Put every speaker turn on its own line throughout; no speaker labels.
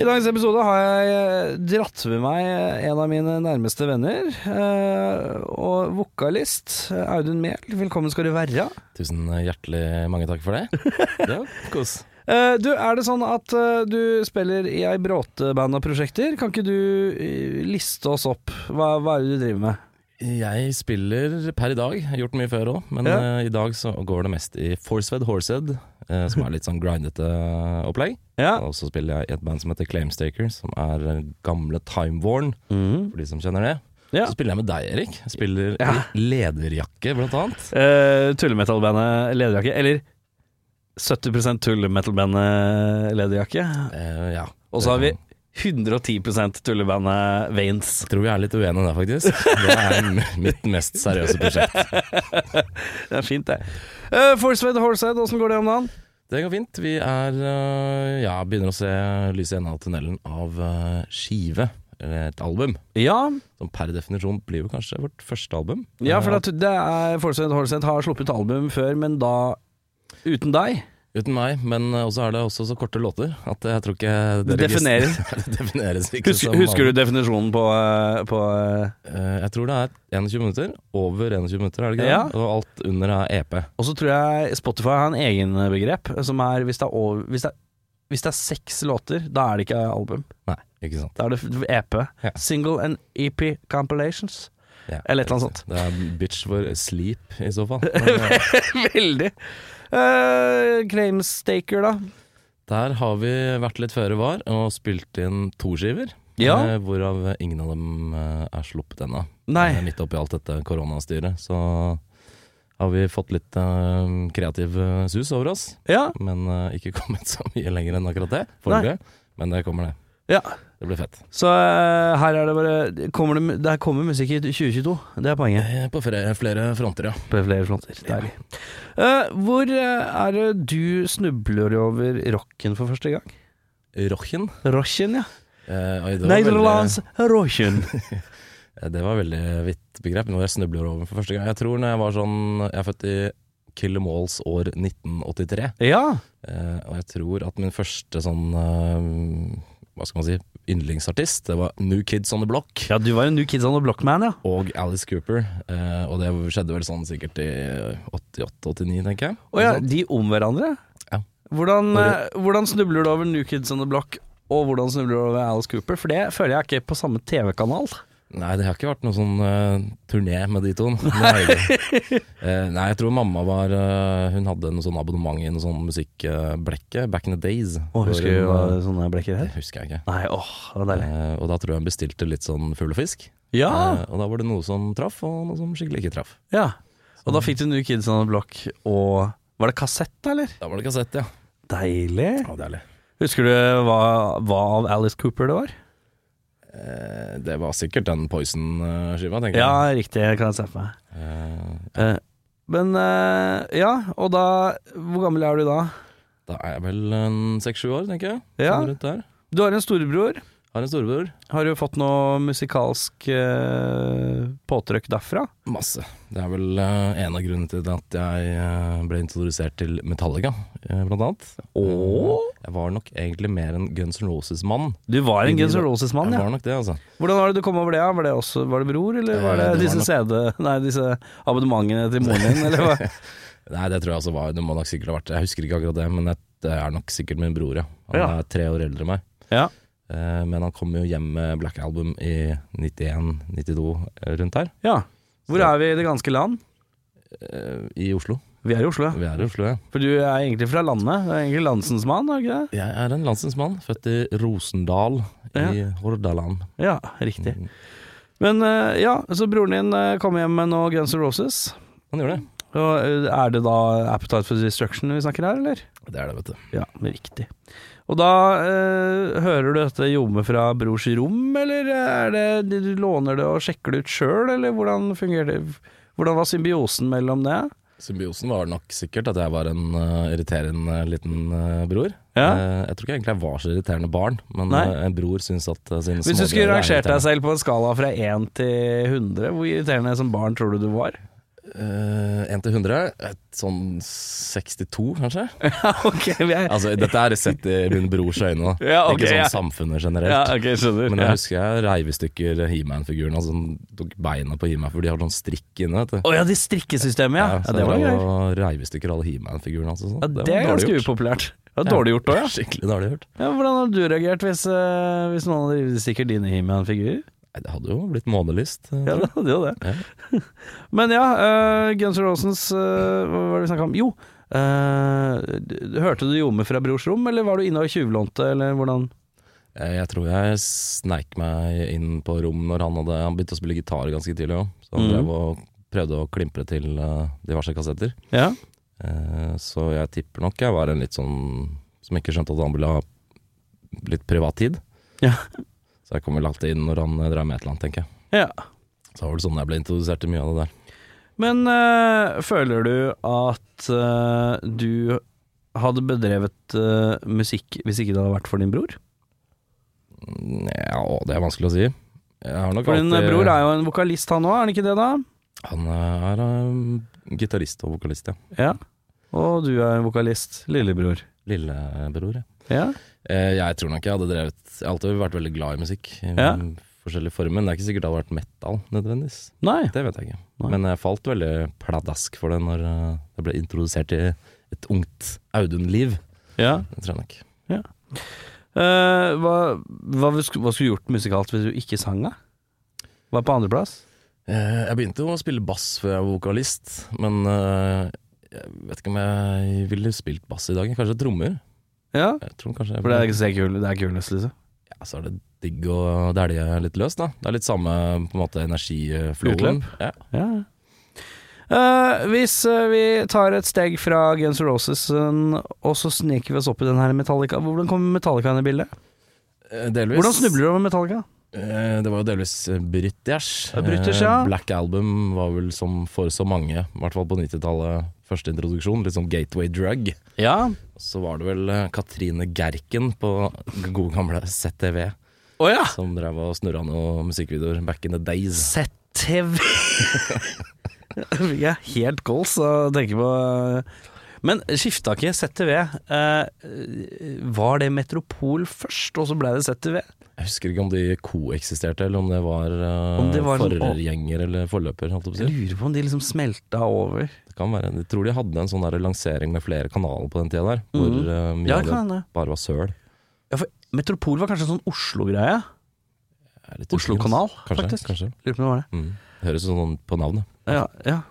I dagens episode har jeg eh, dratt med meg en av mine nærmeste venner. eh, Og vokalist eh, Audun Mehl, velkommen skal du være.
Tusen hjertelig mange takk for det. Det var kos.
Eh, Du, er det sånn at eh, du spiller i ei bråte band og prosjekter? Kan ikke du eh, liste oss opp? Hva, hva er det du driver med?
Jeg spiller per i dag, jeg har gjort mye før òg, men
Ja.
eh, i dag så går det mest i Forceved Horsehead, eh, som er litt sånn grindete opplegg.
Ja.
Og så spiller jeg i et band som heter Claimstaker, som er eh, gamle Time Warn,
Mhm.
Mm.
for de som kjenner det.
Ja.
Så spiller jeg med deg, Erik. Jeg spiller i lederjakke, blant annet.
Uh, Tullemetallbandet Lederjakke, eller 70 Tullemetallbandet Lederjakke.
Eh, ja.
Og så har vi 110 tullebandet Veins.
Jeg tror vi er litt uenige der, faktisk. Det er m- mitt mest seriøse prosjekt.
Det er fint, det.
Uh, Forsved Horsehead, åssen går det om dagen?
Det går fint. Vi er øh, Ja, begynner å se lyset i enden av tunnelen av øh, skive. Eller et album.
Ja,
Som per definisjon blir jo kanskje vårt første album.
ja for
Eh,
det, det er Forsved Horsehead har sluppet album før, men da uten deg.
Uten meg, men øh, også er det også så korte låter at jeg tror ikke
Det
regist-
definerer.
det defineres ikke
Husker,
som
husker
album.
du definisjonen på, eh, på eh,
Eh, Jeg tror det er 21 minutter. Over 21 minutter, er det ikke
Ja.
det? Og alt under er E EP.
Og så tror jeg Spotify har en egen begrep, som er hvis det er, over, hvis det er, hvis det er seks låter, da er det ikke album.
Nei, ikke sant.
Da er det f- EP.
Ja.
Single and EP compilations.
Ja,
Eller et eller annet sånt.
Det er bitch for sleep, i så fall. Men, øh,
Veldig. Uh, Claimstaker, da.
Der har vi vært litt føre var og spilt inn to skiver.
Ja.
eh, Hvorav ingen av dem eh, er sluppet ennå.
Nei.
Eh, Midt oppi alt dette koronastyret. Så har vi fått litt eh, kreativ eh, sus over oss.
Ja.
Men eh, ikke kommet så mye lenger enn akkurat det. Foreløpig. Men det kommer, det.
ja.
Det blir fett.
Så eh, her er det bare kommer det, Der kommer musikk i 2022. Det er poenget.
Eh, På flere, flere fronter, ja.
På flere fronter. Deilig. Eh, hvor eh, er det du snubler over rocken for første gang?
Rochen.
Rochen, ja.
Eh, oi, det, var veldig,
Nederlands Rochen.
eh, det var veldig vidt begrep. Nå jeg snubler over for første gang. Jeg tror når jeg var sånn Jeg er født i Killer Malls år 1983.
ja.
Eh, og jeg tror at min første sånn eh, Hva skal man si yndlingsartist, det var New Kids On The Block
ja, du var jo New Kids on the Block-man, ja.
og Alice Cooper. Eh, og det skjedde vel sånn sikkert i 88-89, tenker jeg. Altså,
Å ja, de om hverandre?
Ja.
Hvordan,
Og
eh, hvordan snubler du over New Kids on the Block, og hvordan snubler du over Alice Cooper? For det føler jeg ikke er på samme TV-kanal.
Nei, det har ikke vært noen sånn eh, turné med de to. Det har jeg ikke. Eh, nei, jeg tror mamma var eh, Hun hadde en sånn abonnement i en sånn musikkblekke back in the days.
Å, husker du hva
Hvor hun, eh,
sånne blekker
det
her?
husker jeg ikke.
Nei, åh, det var deilig.
Eh, og da tror jeg hun bestilte litt sånn fugl og fisk.
Ja,
Eh, og da var det noe som traff, og noe som skikkelig ikke traff.
ja. Og da fikk du New Kids on the Block og Var det kassett, da, eller?
Da var det kassett, ja.
Deilig.
Ja, det er litt.
Husker du hva, hva av Alice Cooper det var?
Eh, det var sikkert den Poison-skiva, tenker
Ja,
jeg.
riktig, kan jeg se for meg.
Eh,
Eh, Men eh, ja, og da Hvor gammel er du da?
da er jeg vel en seks-sju år, tenker jeg.
Ja.
Sånn Rundt der.
Du har en storebror.
Har en storebror.
Har du fått noe musikalsk eh, påtrykk derfra?
Masse. Det er vel eh, en av grunnene til at jeg eh, ble introdusert til Metallica, eh, blant annet.
Åh.
Jeg var nok egentlig mer en Guns N' Roses-mann.
Du var en
Inni
Guns N'
det.
Roses-mann,
Jeg
ja.
var nok det, altså.
Hvordan var det du kom over det? ja? Var det, også, var det bror, eller var det,
Eh, det var
disse CD Nei, disse abonnementene til moren din, eller hva?
Nei, det tror jeg altså var Det må nok sikkert ha vært Jeg husker ikke akkurat det, men jeg- det er nok sikkert min bror, ja. Han
Ja.
er tre år eldre enn meg.
Ja.
Eh, Men han kom jo hjem med Black Album i 91-92, rundt her.
ja. Hvor er vi i det ganske land?
eh, i Oslo.
Vi er i Oslo, ja.
Vi er i Oslo, ja.
For du er egentlig fra landet. Du er egentlig landsens mann, er du ikke det?
Jeg er en landsens mann, født i Rosendal i Hordaland. Mm.
Ja, riktig. Mm. Men eh, ja, så broren din eh, kom hjem med noe Guns N' Roses.
Han gjør det.
Og eh, er det da Appetite for Destruction vi snakker her, eller?
Det er det, vet du.
Ja, riktig. Og da eh, hører du dette jomme fra brors rom, eller eh, er det du låner det og sjekker det ut sjøl, eller hvordan fungerte Hvordan var symbiosen mellom det?
Symbiosen var nok sikkert at jeg var en eh, irriterende liten eh, bror.
Ja.
Eh, jeg tror ikke egentlig jeg var så irriterende barn, men
Nei.
eh, en bror syns at uh, sine
Hvis du skulle
småbrødre er
rangert deg
irriterende.
selv på en skala fra 1 til 100, hvor irriterende som barn tror du du var?
Eh, 1 til 100, et sånn 62 kanskje?
ok, vi er
Altså, dette er sett i min brors øyne, da.
Ja, ok,
ikke sånn
ja.
samfunnet generelt.
Ja, ok, skjønner.
Men jeg
Ja.
husker jeg reiv i stykker He-Man-figuren. Altså, den tok beina på He-Man, for de har sånn strikk inne. Vet du.
Å ja, de strikkesystemet, ja. ja
så
det var
jeg
gøy.
drev og Reiv i stykker alle He-Man-figurene. Altså, sånn.
Ja,
var
det er
dårlig
ganske
gjort.
upopulært. Det var dårlig gjort òg, ja.
Skikkelig dårlig gjort.
ja. Hvordan hadde du reagert hvis, eh, hvis noen hadde stikker dine He-Man-figurer?
Nei, det hadde jo blitt månelyst. eh,
Ja,
tror jeg.
det hadde jo det. Men ja, eh, Guns N' Roses eh, Hva var det vi snakka om? Jo, eh, d- hørte du Jome fra Brors rom, eller var du inne og tjuvlånte, eller hvordan?
Eh, Jeg tror jeg sneik meg inn på rom når han hadde Han begynte å spille gitar ganske tidlig òg, så han
Mhm.
drev og prøvde å klimpre til eh, diverse kassetter.
Ja.
Eh, Så jeg tipper nok jeg var en litt sånn som ikke skjønte at han ville ha litt privattid.
Ja.
Så jeg kom vel alltid inn når han eh, drev med et eller annet, tenker jeg.
ja.
Så var det sånn jeg ble introdusert til mye av det der.
Men eh, føler du at eh, du hadde bedrevet eh, musikk hvis ikke det hadde vært for din bror?
Ja, å, det er vanskelig å si. Jeg har nok
For din eh,
alltid-
bror er jo en vokalist han òg, er han ikke det da?
Han er um, gitarist og vokalist, ja.
Ja. Og du er en vokalist, lillebror.
Lillebror, ja.
Ja.
Eh, Jeg tror nok jeg hadde drevet Jeg har alltid vært veldig glad i musikk. I
Ja.
Forskjellige former. Det er ikke sikkert det hadde vært metal nødvendigvis.
Nei.
Det vet jeg ikke.
Nei.
Men jeg falt veldig pladask for det når eh, jeg ble introdusert til et ungt Audun-liv.
Ja.
Det tror jeg nok.
Eh, hva, hva, sk- hva skulle du gjort musikalt hvis du ikke sang, da? Var på andreplass?
Eh, Jeg begynte jo å spille bass før jeg var vokalist, men eh, jeg vet ikke om jeg ville spilt bass i dag. Kanskje trommer.
Ja,
Jeg tror kanskje jeg
for det er ikke så kul, det er kulest, liksom.
ja, så er det digg å dælje litt løs, da. Det er litt samme på en måte energiflowen. Ja.
Ja. Eh, hvis eh, vi tar et steg fra Guns N' Roses eh, og så sneker vi oss opp i den her Metallica, hvordan kommer Metallica inn i bildet?
Eh, Delvis.
Hvordan snubler du over Metallica?
Eh, Det var jo delvis eh, British.
Ja, British, ja.
Eh, Black Album var vel som for så mange, i hvert fall på 90-tallet, første introduksjon. Litt sånn gateway drug.
Ja,
Så var det vel eh, Katrine Gerken på gode gamle ZTV
å ja!
som drev og snurra noen musikkvideoer back in the days.
ZTV! jeg er helt goals og tenker på Men skifta ikke ZTV? eh, var det Metropol først, og så ble det ZTV?
Jeg husker ikke om de koeksisterte, eller om det var, eh,
Om det var sånn-
forgjenger eller forløper. Holdt jeg på å
Jeg
si.
lurer på om de liksom smelta over.
Det kan være. Jeg tror de hadde en sånn der lansering med flere kanaler på den tida der, hvor
Mhm.
eh, mye
Ja,
av det
kan det.
bare var søl.
Ja, for Metropol var kanskje en sånn Oslo-greie?
Jeg er litt usikker, altså.
Oslo-kanal,
Kanskje,
faktisk.
kanskje.
Lurer på om det var det.
Mm. Høres sånn på navnet.
Ja, ja.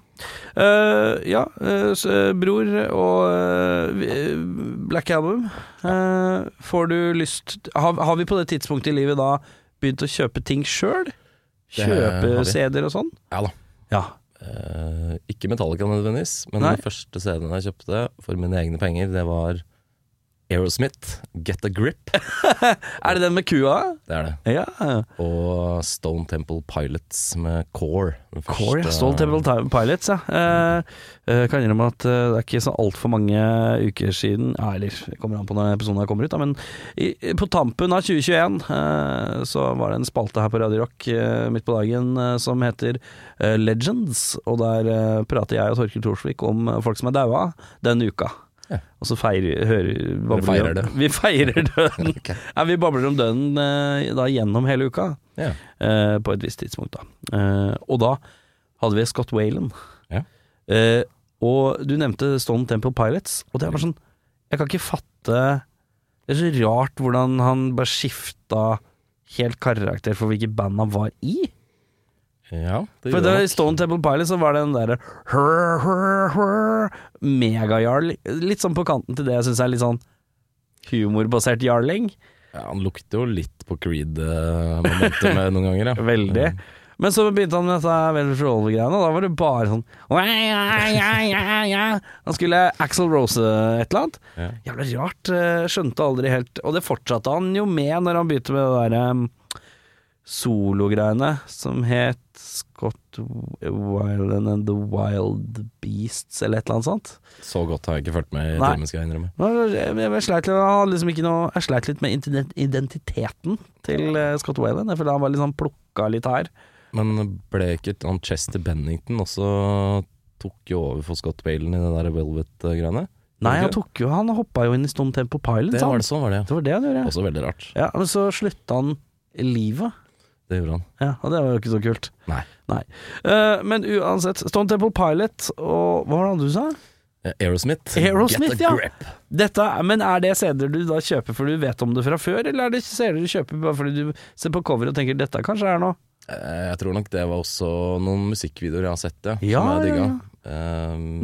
Eh, ja eh, s- eh, bror og eh, vi- eh, Black Album. Eh, får du lyst har, har vi på det tidspunktet i livet da begynt å kjøpe ting sjøl?
Det har
Kjøpe
vi.
CD-er og sånn?
Ja da.
Ja.
Eh, ikke Metallica nødvendigvis, men
Nei.
den første CD-en jeg kjøpte for mine egne penger, det var Aerosmith, Get a Grip.
Er det den med kua?
Det er det.
Ja.
Og Stone Temple Pilots med Core. den
Core, ja.
første-
Stone Temple Ti- Pilots, ja. Eh, eh, kan innrømme at eh, det er ikke så altfor mange uker siden ja, Eller det kommer an på når episoden her kommer ut, da, men i, i- på tampen av 2021 eh, så var det en spalte her på Radio Rock eh, midt på dagen eh, som heter eh, Legends, og der eh, prater jeg og Torkild Thorsvik om eh, folk som er daua den uka.
Ja.
Og så feirer, hører, babler vi
feirer
om-
det.
Vi feirer døden.
Ok.
Nei, vi babler om døden eh, da gjennom hele uka.
Ja.
Eh, på et visst tidspunkt, da. Eh, og da hadde vi Scott Whalen.
Ja.
Eh, og du nevnte Stone Temple Pilots, og det var sånn Jeg kan ikke fatte Det er så rart hvordan han bare skifta helt karakter for hvilket band han var i.
Ja, det
For
gjorde
det,
han.
I Stone Temple Pilots så var det den derre hør, hør, hør, Megajarl. Litt sånn på kanten til det jeg syns er litt sånn humorbasert jarling.
Ja, han lukter jo litt på Creed-momentet med noen ganger, ja.
Veldig. Men så begynte han med dette Velvet Roll-greiene, og da var det bare sånn «Oi, oi, oi, oi, oi». Han skulle Axel Rose et eller annet.
Ja.
Jævla rart. eh, Skjønte aldri helt Og det fortsatte han jo med når han begynte med det derre um, sologreiene som het Scott Wilen and the Wild Beasts, eller et eller annet sånt.
Så godt har jeg ikke fulgt med i
Nei.
timen, skal jeg innrømme.
Nå, Jeg, jeg, jeg, sleit litt, jeg, hadde liksom ikke noe, jeg sleit litt med ident- identiteten til eh, Scott Whalen. Jeg føler han var litt sånn plukka litt her.
Men ble ikke han Chester Bennington også tok jo over for Scott Balen i det der Velvet-greiene?
Nei, han
Ok.
tok jo Han hoppa jo inn i Stone Temple Pilots.
Det var
han.
det, sånn var det, ja.
det var det han gjorde.
Også veldig rart.
Ja, Men så slutta han livet.
Det gjorde han.
Ja, og det var jo ikke så kult.
Nei.
Eh, men uansett, Stone Temple Pilot og Hva var det andre du sa?
Eh, Aerosmith.
Aerosmith,
Get a
ja.
grip.
Dette, er- men er det CD-er du da kjøper fordi du vet om det fra før, eller er det CD-er du kjøper bare fordi du ser på cover og tenker 'dette kanskje er noe'?
Eh, Jeg tror nok det var også noen musikkvideoer jeg har sett, ja. som
Ja,
jeg
ja,
digga.
ja.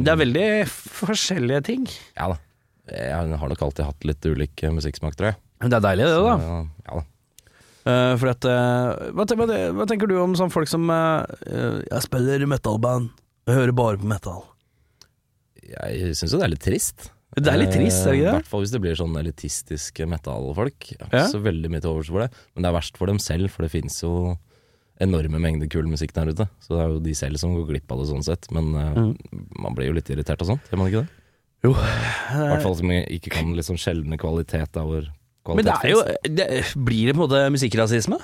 Det er veldig forskjellige ting.
Ja da. Jeg har nok alltid hatt litt ulik eh, musikksmak, tror jeg.
Men det er deilig, det, da.
Ja, ja da.
Eh, for at, eh, hva, ten- hva, ten- hva tenker du om sånne folk som eh, eh, Jeg spiller i metalband, jeg hører bare på metal.
Jeg syns jo det er litt trist.
Det er litt trist, er det
I
ikke det?
hvert fall hvis det blir sånn elitistiske metalfolk. Jeg har
Ja.
ikke så veldig mye til overs for det, men det er verst for dem selv, for det fins jo enorme mengder kul musikk der ute. Så det er jo de selv som går glipp av det sånn sett, men eh,
Mm.
man blir jo litt irritert og sånt, gjør man ikke det?
Jo.
I hvert fall som jeg ikke kan liksom skjelne kvalitet der hvor
Eh,
kvalitet
Eh, Men det er jo
finnes.
det, Blir det på en måte musikkrasisme?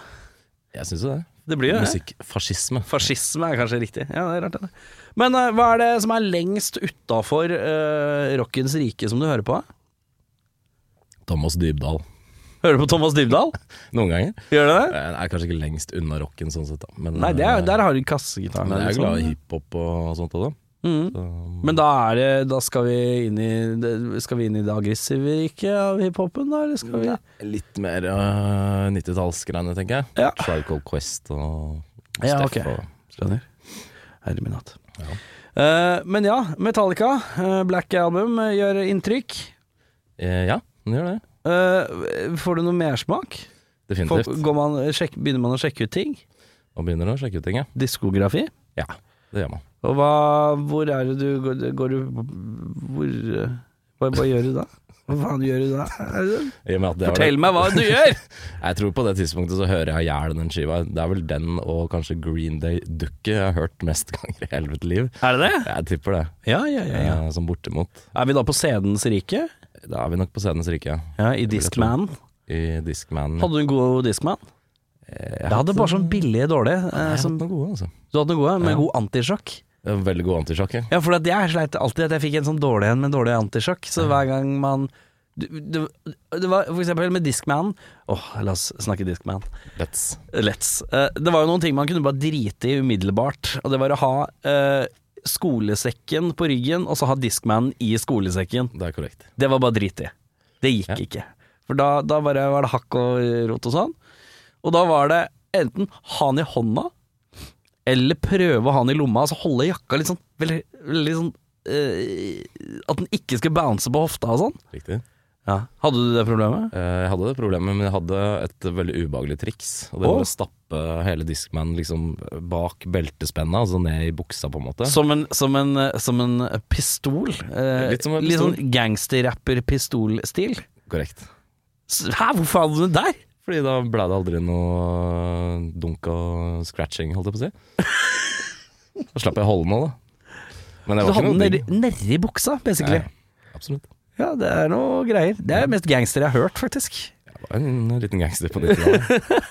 Jeg syns jo det.
Det blir jo det.
Musikkfascisme.
Fascisme er kanskje riktig. Ja, det er rart, det. Men eh, hva er det som er lengst utafor eh, rockens rike som du hører på?
Thomas Dybdahl.
Hører du på Thomas Dybdahl?
Noen ganger.
Gjør du det?
Jeg er kanskje ikke lengst unna rocken sånn sett, da. Men,
Nei, det er,
eh,
der har du kassegitaren.
men jeg er
liksom.
glad i hiphop og sånt òg, da.
Mhm.
Så-
Men da er det Da skal vi inn i det- Skal vi inn i det aggressive riket av hiphopen, da? Eller skal vi
Litt mer øh, 90-tallsgreiene, tenker jeg.
Ja.
Trical Quest og
Ja,
Steff
ok.
og-
Skjønner. Herre min hatt. Eh, men ja, Metallica, eh, Black Album, eh, gjør inntrykk.
Eh, ja, den gjør det.
Eh, får du noe mersmak? Får-
Definitivt.
Går man, sjekk, begynner man å sjekke ut ting?
Nå begynner du å sjekke ut ting, ja.
Diskografi?
ja. Det gjør man.
Og hva, hvor er det du Går, går du Hvor eh, hva, hva gjør du da? Hva faen gjør du da? Er det-
I og med at det var
Fortell
det-
meg hva du gjør!
Jeg tror på det tidspunktet så hører jeg i hjel den skiva. Det er vel den og kanskje Green Day-dukket jeg har hørt mest ganger i hele mitt liv.
Er det det?
Jeg tipper det,
Ja, ja, ja, ja.
eh, som bortimot.
Er vi da på sedens rike?
Da er vi nok på scenens rike, ja.
Ja, i
vil jeg
Discman.
I Discman.
Hadde du en god Discman?
Eh, jeg
Jeg hadde bare sånn billige dårlig. eh,
Nei, jeg
som-
hadde noen gode, altså.
Du hadde noe gode, med
Ja.
god antisjokk.
Jeg hadde Veldig god antisjokk, ja.
Ja, for at jeg sleit alltid at jeg fikk en sånn dårlig en med dårlig antisjokk. Så hver gang man du- du- Det var for eksempel med Discman. Åh, la oss snakke Discman.
Let's.
Let's. Eh, Det var jo noen ting man kunne bare drite i umiddelbart, og det var å ha eh, skolesekken på ryggen, og så ha Discman i skolesekken.
Det er korrekt.
Det var bare drit i. Det gikk
Ja.
ikke. For da, da bare var det hakk og rot og sånn. Og da var det enten ha den i hånda, eller prøve å ha den i lomma. Altså holde jakka litt sånn, veldig, veldig sånn eh, At den ikke skulle bounce på hofta og sånn.
Riktig.
Hadde du det problemet?
Eh, Jeg hadde det problemet, men jeg hadde et veldig ubehagelig triks. Og det
Å?
var å stappe hele Discman liksom bak beltespenna, altså ned i buksa, på en måte.
Som en, som en, eh, som en pistol. Eh,
Litt som en
litt
pistol.
sånn gangsterrapper-pistolstil.
Korrekt.
S- Hæ, hvorfor hadde du den der?
Fordi da ble det aldri noe eh, dunk og scratching, holdt jeg på å si. Da slapp jeg å holde meg, da. Men det
Du
var ikke
hadde
noe
den
digg.
nedi- nedi buksa, basically.
Nei, Absolutt.
Ja, det er noe greier. Det er det mest gangster jeg har hørt, faktisk.
Jeg var en liten gangster på 90-tallet.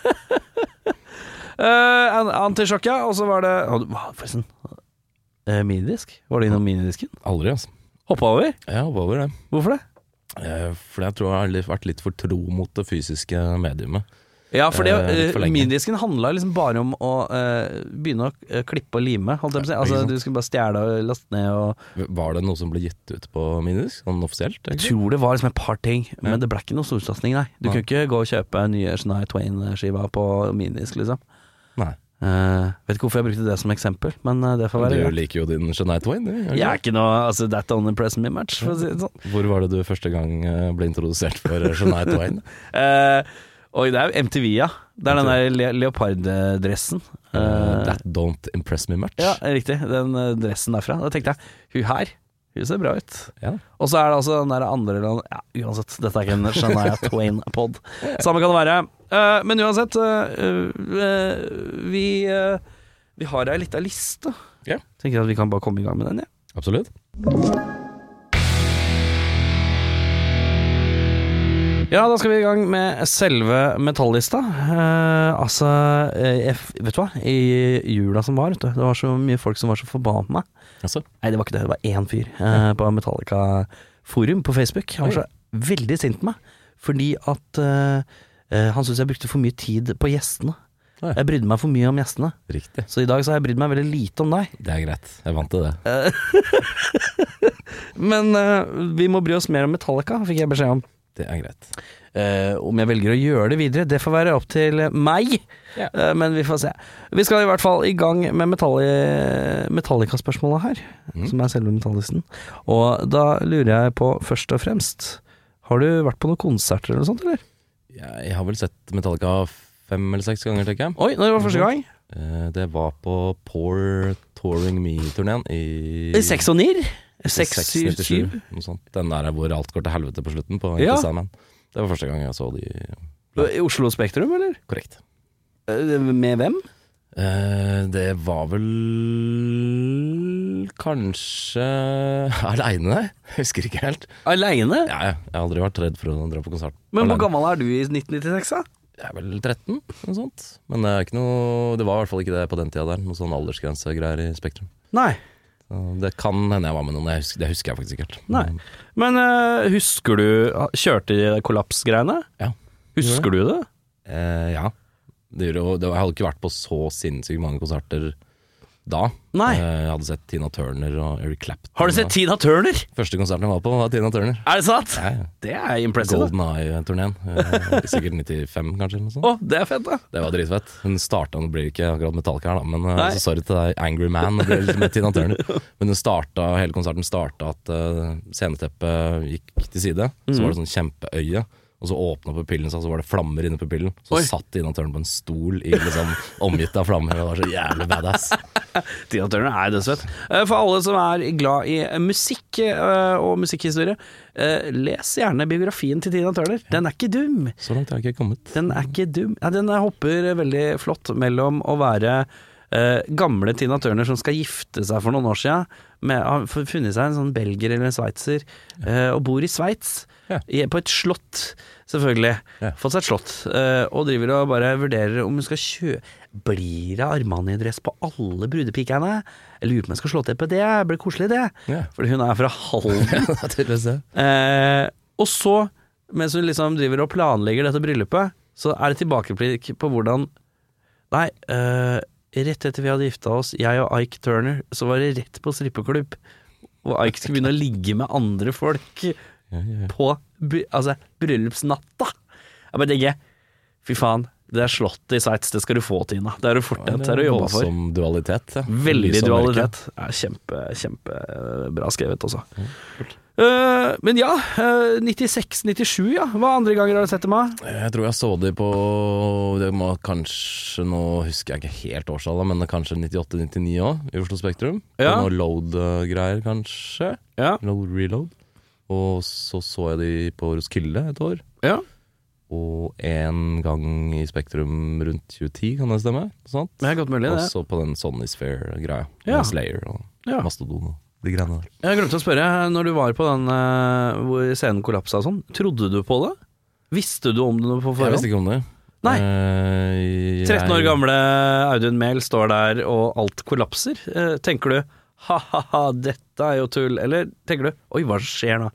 Uh, Antisjokk, ja. Og så var det Å, du- hva, Forresten, Eh, minidisk? Var det innom minidisken?
Aldri, altså.
Hoppa over?
Jeg hoppa over det.
Hvorfor det?
Eh, For jeg tror jeg har litt- vært litt for tro mot det fysiske mediumet.
Ja, for det,
Eh, litt for
eh,
lenge.
minidisken handla liksom bare om å eh, begynne å eh, klippe og lime, holdt jeg på å si.
ikke
Altså,
sant.
du skulle bare stjele og laste ned og
Var det noe som ble gitt ut på minidisk, sånn offisielt?
Jeg
egentlig?
tror det var liksom et par ting, men det ble ikke noen storsatsing, nei. Du
Nei.
sånn kunne ikke gå og kjøpe nye Shania Twain-skiva på minidisk, liksom.
Nei.
Eh, vet ikke hvorfor jeg brukte det som eksempel, men eh, det får være
Du
greit.
liker jo din Jeanette Wayne. du,
Jeg
gjør du ikke
er ikke noe altså, That don't impress me match, for å si det sånn.
det? Hvor var det du første gang eh, ble introdusert for eh, Jeanette Wayne?
Eh, oi, det er jo MTV, ja. Det er den der le leoparddressen. Eh,
Eh, That don't impress me much.
ja, riktig. Den eh, dressen derfra. Da tenkte jeg, hun her, hun ser bra ut.
Ja.
Og så er det altså den der andre eller Ja, uansett. Dette er ikke en Shania Twain-pod. Samme kan det være. Eh, men uansett, eh, eh, vi, eh, vi har ei lita liste.
Ja.
Tenker at vi kan bare komme i gang med den, ja.
Absolutt.
Ja, da skal vi i gang med selve metallista. Eh, altså, eh, jeg, f- vet du hva? I jula som var, vet du, det var så mye folk som var så forbanna.
Altså,
Nei, det var ikke det. Det var én fyr eh, på Metallica-forum på Facebook. Han var så veldig sint på meg fordi at eh, eh, han syntes jeg brukte for mye tid på gjestene.
Oi.
Jeg brydde meg for mye om gjestene,
riktig.
så i dag så har jeg brydd meg veldig lite om deg.
Det er greit. Jeg vant til det.
Eh. Men eh, vi må bry oss mer om Metallica, fikk jeg beskjed om.
Det er greit.
Eh, om jeg velger å gjøre det videre, det får være opp til meg.
Ja.
Eh, men vi får se. Vi skal i hvert fall i gang med Metalli- Metallica-spørsmålet her, som er selve metallisten. Og da lurer jeg på, først og fremst Har du vært på noen konserter eller noe sånt, eller?
Jeg, jeg har vel sett Metallica fem eller seks ganger, tenker jeg.
Oi, når var første gang?
Eh, det var på Poor Touring Me-turneen i
I Seks og nier? Seks, syv,
697,
syv.
Noe sånt. Den der hvor alt går til helvete på slutten. På
Ja.
ja. Det var første gang jeg så de
I Oslo Spektrum, eller?
korrekt.
Eh, Med hvem?
Eh, det var vel kanskje Aleine? Jeg husker ikke helt.
Aleine?
Ja, ja. jeg har aldri vært redd for å dra på konsert.
Men hvor
alene.
gammel er du i 1996, da?
Jeg er vel 13, noe sånt. Men det, er ikke noe, det var i hvert fall ikke det på den tida der. Noe sånn aldersgrensegreier i Spektrum.
Nei.
Så Det kan hende jeg var med noen, jeg husker, det husker jeg faktisk ikke. helt.
Nei. Men eh, husker du Kjørte de kollapsgreiene?
Ja.
Husker du det?
Eh, ja. Det gjorde jo det, Jeg hadde ikke vært på så sinnssykt mange konserter da.
Nei.
Eh, jeg hadde sett Tina Turner og Eric Clapton.
Har du sett Tina Turner?
Og Første konserten jeg var på, var Tina Turner.
Er det sant?
Ja, ja.
Det er impressive.
Golden Eye-turneen. Eh, sikkert 95, kanskje. eller noe
Å,
sånt.
det er fett, da.
Det var dritfett. Hun starta Nå blir det ikke akkurat Metallica her, da, men eh,
Nei.
altså, sorry til deg, Angry Man. Det blir litt med Tina Turner. Men hun starta, hele konserten starta at eh, sceneteppet gikk til side. Så var det sånn kjempeøye. Og så åpna pupillen seg, og så var det flammer inni pupillen.
Oi.
Så satt Tina Turner på en stol i, liksom, omgitt av flammer. Det var så jævlig badass.
Tina Turner er dødsfett. Eh, For alle som er glad i eh, musikk eh, og musikkhistorie, eh, les gjerne biografien til Tina Turner. Den er ikke dum.
Så langt har jeg ikke kommet.
Den er ikke dum. Ja, den hopper veldig flott mellom å være eh, gamle Tina Turner som skal gifte seg for noen år siden, med, har f- funnet seg en sånn belger eller en sveitser, eh, og bor i Sveits.
Ja.
i- På et slott, selvfølgelig.
Ja.
Fått seg et slott. eh, og driver og bare vurderer om hun skal kjøpe Blir det Armani-dress på alle brudepikene? Jeg lurer på om jeg skal slå til på det, det blir koselig det.
Ja.
Fordi hun er fra Halden.
Det er tydeligvis det.
Eh, og så, mens hun liksom driver og planlegger dette bryllupet, så er det tilbakeblikk på hvordan Nei, eh, rett etter vi hadde gifta oss, jeg og Ike Turner, så var det rett på strippeklubb. Og Ike skulle begynne å ligge med andre folk på bry altså, bryllupsnatta. Jeg bare tenker Fy faen, det er slottet i Sveits, det skal du få, Tina. Det har du fortjent, det har du jobba for.
Voldsom dualitet. Ja.
Veldig
Lys og mørke.
dualitet. Ja, kjempe, kjempebra skrevet også. Eh, men ja, eh, 96-97, ja. Hva andre ganger har du sett dem? av?
Jeg tror jeg så de på Det må kanskje Nå husker jeg ikke helt årstallet, men det er kanskje 98-99 òg, i Oslo Spektrum.
Ja.
På noe load-greier, kanskje.
Ja.
Load reload. Og så så jeg de på Roskilde et år.
Ja.
Og en gang i Spektrum rundt 2010, kan det stemme? Sant?
Det er godt mulig,
Og
det.
så på den Sonny Sphere-greia.
Ja.
Med Slayer og
Ja.
Mastodon og de greiene der.
Jeg glemte å spørre, når du var på den eh, hvor scenen kollapsa og sånn, trodde du på det? Visste du om det noe på
Jeg
forhånd?
visste ikke om det.
Nei.
Eh, jeg-
13 år gamle Audun Mehl står der og alt kollapser. Eh, tenker du ha-ha-ha, dette er jo tull, eller tenker du oi, hva skjer nå?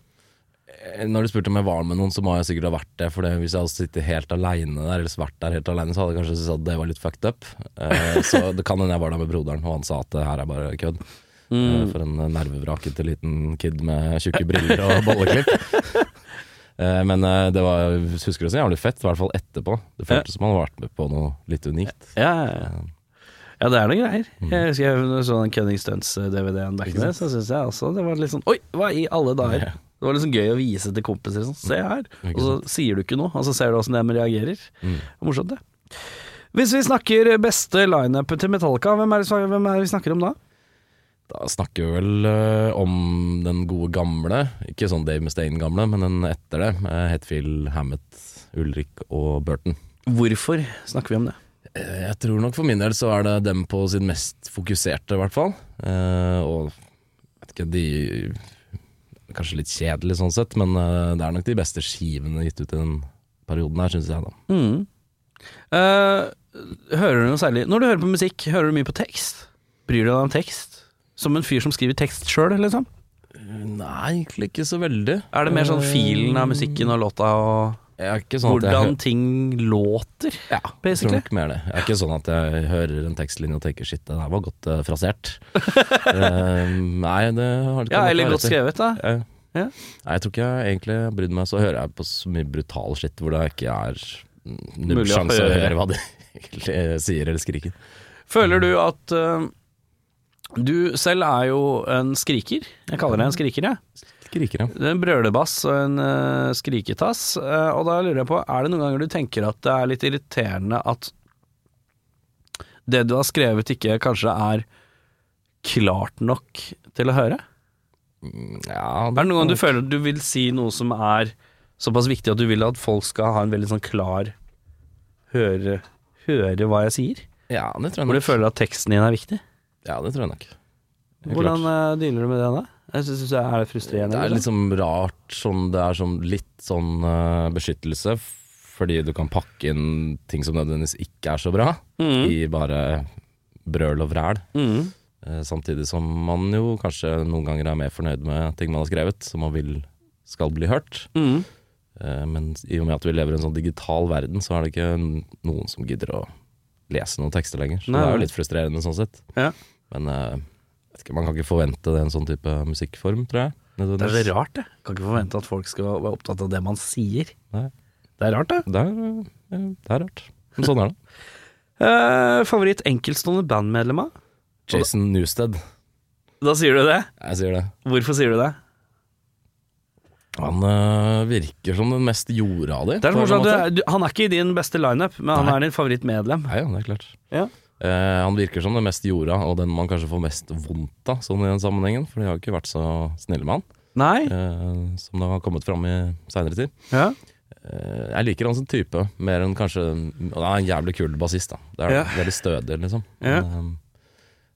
Eh, Når du spurte om jeg var med noen, så må jeg sikkert ha vært det. For det, hvis jeg hadde sittet helt aleine der, eller vært der helt aleine, så hadde jeg kanskje syntes at det var litt fucked up. Eh, så det kan hende jeg var der med broderen, og han sa at det her er bare kødd. Eh, for en nervevrakete liten kid med tjukke briller og bolleklipp. Eh, men eh, det var jeg husker det så jævlig fett, i hvert fall etterpå. Det føltes som han hadde vært med på noe litt unikt.
Ja, ja, ja. Ja, det er noen greier. Jeg husker jeg så den eh, Cunning Stunts-DVD-en back in the day, så syns jeg også det var litt sånn Oi, hva i alle dager? Det var liksom gøy å vise til kompiser. Sånn, Se her! Og så sier du ikke Mm. noe, og så ser du åssen de reagerer. Morsomt, det. Hvis vi snakker beste lineupen til Metallica, hvem er, det, hvem er det vi snakker om da?
Da snakker vi vel eh, om den gode gamle, ikke sånn Dave Mustaine-gamle, men den etter det. eh, Hetfield, Hammett, Ulrik og Burton.
Hvorfor snakker vi om det?
Eh, Jeg tror nok for min del så er det dem på sin mest fokuserte, i hvert fall. Eh, og vet ikke, de Kanskje litt kjedelig sånn sett, men eh, det er nok de beste skivene gitt ut i den perioden her, syns jeg, da.
Mm. Eh, hører du noe særlig Når du hører på musikk, hører du mye på tekst? Bryr du deg om tekst? Som en fyr som skriver tekst sjøl, liksom?
Nei, egentlig ikke så veldig.
Er det mer
Eh,
sånn filen av musikken og låta og
Jeg er ikke sånn at jeg hø-
hvordan ting låter, ja,
Jeg tror
basically?
nok mer det. Jeg er ikke sånn at jeg hører en tekstlinje og tenker shit, det der var godt eh, frasert. Eh, nei, det har du
Ja, eller godt skrevet, da.
Ja.
Ja.
Nei, jeg tror ikke jeg egentlig har brydd meg. Så hører jeg på så mye brutal shit hvor det ikke er mm, null
Mulig å
sjanse å
høre.
høre hva de egentlig sier eller skriker.
Føler du at eh, Du selv er jo en skriker. Jeg kaller deg en skriker, jeg.
Skriker, ja.
Det er En brølebass og en eh, skriketass. eh, og da lurer jeg på, er det noen ganger du tenker at det er litt irriterende at det du har skrevet ikke kanskje er klart nok til å høre?
ja
Er det noen ganger du føler at du vil si noe som er såpass viktig at du vil at folk skal ha en veldig sånn klar høre, høre hva jeg sier?
Ja, det tror jeg
Hvor du
nok.
føler at teksten din er viktig?
Ja, det tror jeg nok. Det er
Hvordan eh, dealer du med det da? Jeg synes det er frustrerende.
Det er
liksom.
liksom rart sånn, Det er sånn litt sånn eh, beskyttelse f- Fordi du kan pakke inn ting som nødvendigvis ikke er så bra
Mm.
I bare brøl og vræl
Mhm.
Eh, Samtidig som man jo kanskje noen ganger er mer fornøyd med ting man har skrevet Som man vil skal bli hørt
Mhm.
Eh, Men i og med at vi lever i en sånn digital verden Så er det ikke n- noen som gidder å lese noen tekster lenger Så
Nei,
det er
nei.
jo litt frustrerende sånn sett
Ja.
Men eh, vet ikke, man kan ikke forvente det i en sånn type musikkform, tror jeg
Det er så rart, det. Kan ikke forvente at folk skal være opptatt av det man sier.
Nei.
Det er rart, det.
Det er, eh, det er rart. Men sånn er det.
Eh, favoritt enkeltstående bandmedlemmer?
Jason Newsted.
Da sier du det.
Jeg sier det.
Hvorfor sier du det?
Han øh, virker som den mest jorda di.
Det er så
på en
morsomt, at
måte.
du, du, Han er ikke i din beste lineup, men han
Nei.
er din favorittmedlem.
Nei, ja, det er klart.
Ja.
Eh, han virker som den mest jorda, og den man kanskje får mest vondt av sånn i den sammenhengen. For de har jo ikke vært så snille med han,
Nei?
eh, som det har kommet fram i seinere tid.
Ja.
Eh, jeg liker han som type, mer enn kanskje Og han er en jævlig kul bassist, da. Det er
Ja.
Veldig stødig, liksom.
Ja.
Men, eh,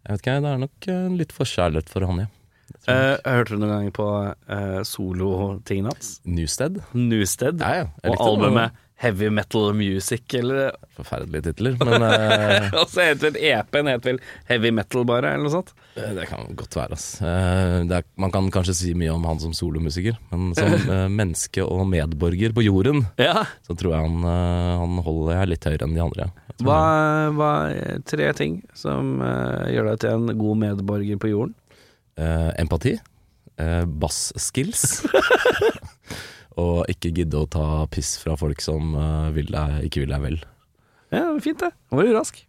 jeg vet ikke, det er nok eh, litt forkjærlighet for han, ja. Det tror jeg.
Eh, hørte du noen gang på eh, solotingene hans?
Newsted?
Newsted
Ja, ja. Jeg
og
likte det.
albumet Heavy Metal Music, eller
Forferdelige titler, men eh,
Og så heter vel EP-en heter vel Heavy Metal, bare, eller noe sånt.
det kan godt være. Ass. Eh, det er, man kan kanskje si mye om han som solomusiker, men som eh, menneske og medborger på jorden,
Ja.
så tror jeg han, eh, han holder jeg litt høyere enn de andre. Jeg tror
Hva, hva er tre ting som eh, gjør deg til en god medborger på jorden?
han- eh, empati, uh, bass-skills, og ikke gidde å ta piss fra folk som eh, vil deg, ikke vil deg vel.
Ja, fint det. Nå var du rask.